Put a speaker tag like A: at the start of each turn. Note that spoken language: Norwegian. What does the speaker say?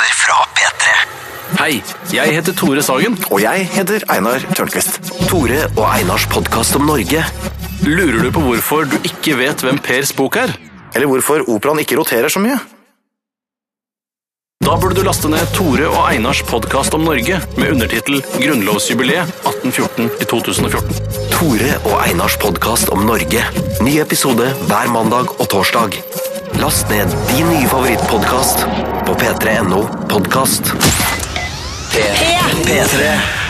A: nyheter fra P3.
B: Hei, jeg heter Tore Sagen.
A: Og jeg heter Einar Tørnquist. Tore og Einars podkast om Norge.
B: Lurer du på hvorfor du ikke vet hvem Pers bok er?
A: Eller hvorfor operaen ikke roterer så mye.
B: Da burde du laste ned Tore og Einars podkast om Norge med undertittel 'Grunnlovsjubileet 1814-2014'.
A: Tore og Einars podkast om Norge. Ny episode hver mandag og torsdag. Last ned din nye favorittpodkast på p3.no podkast. P3.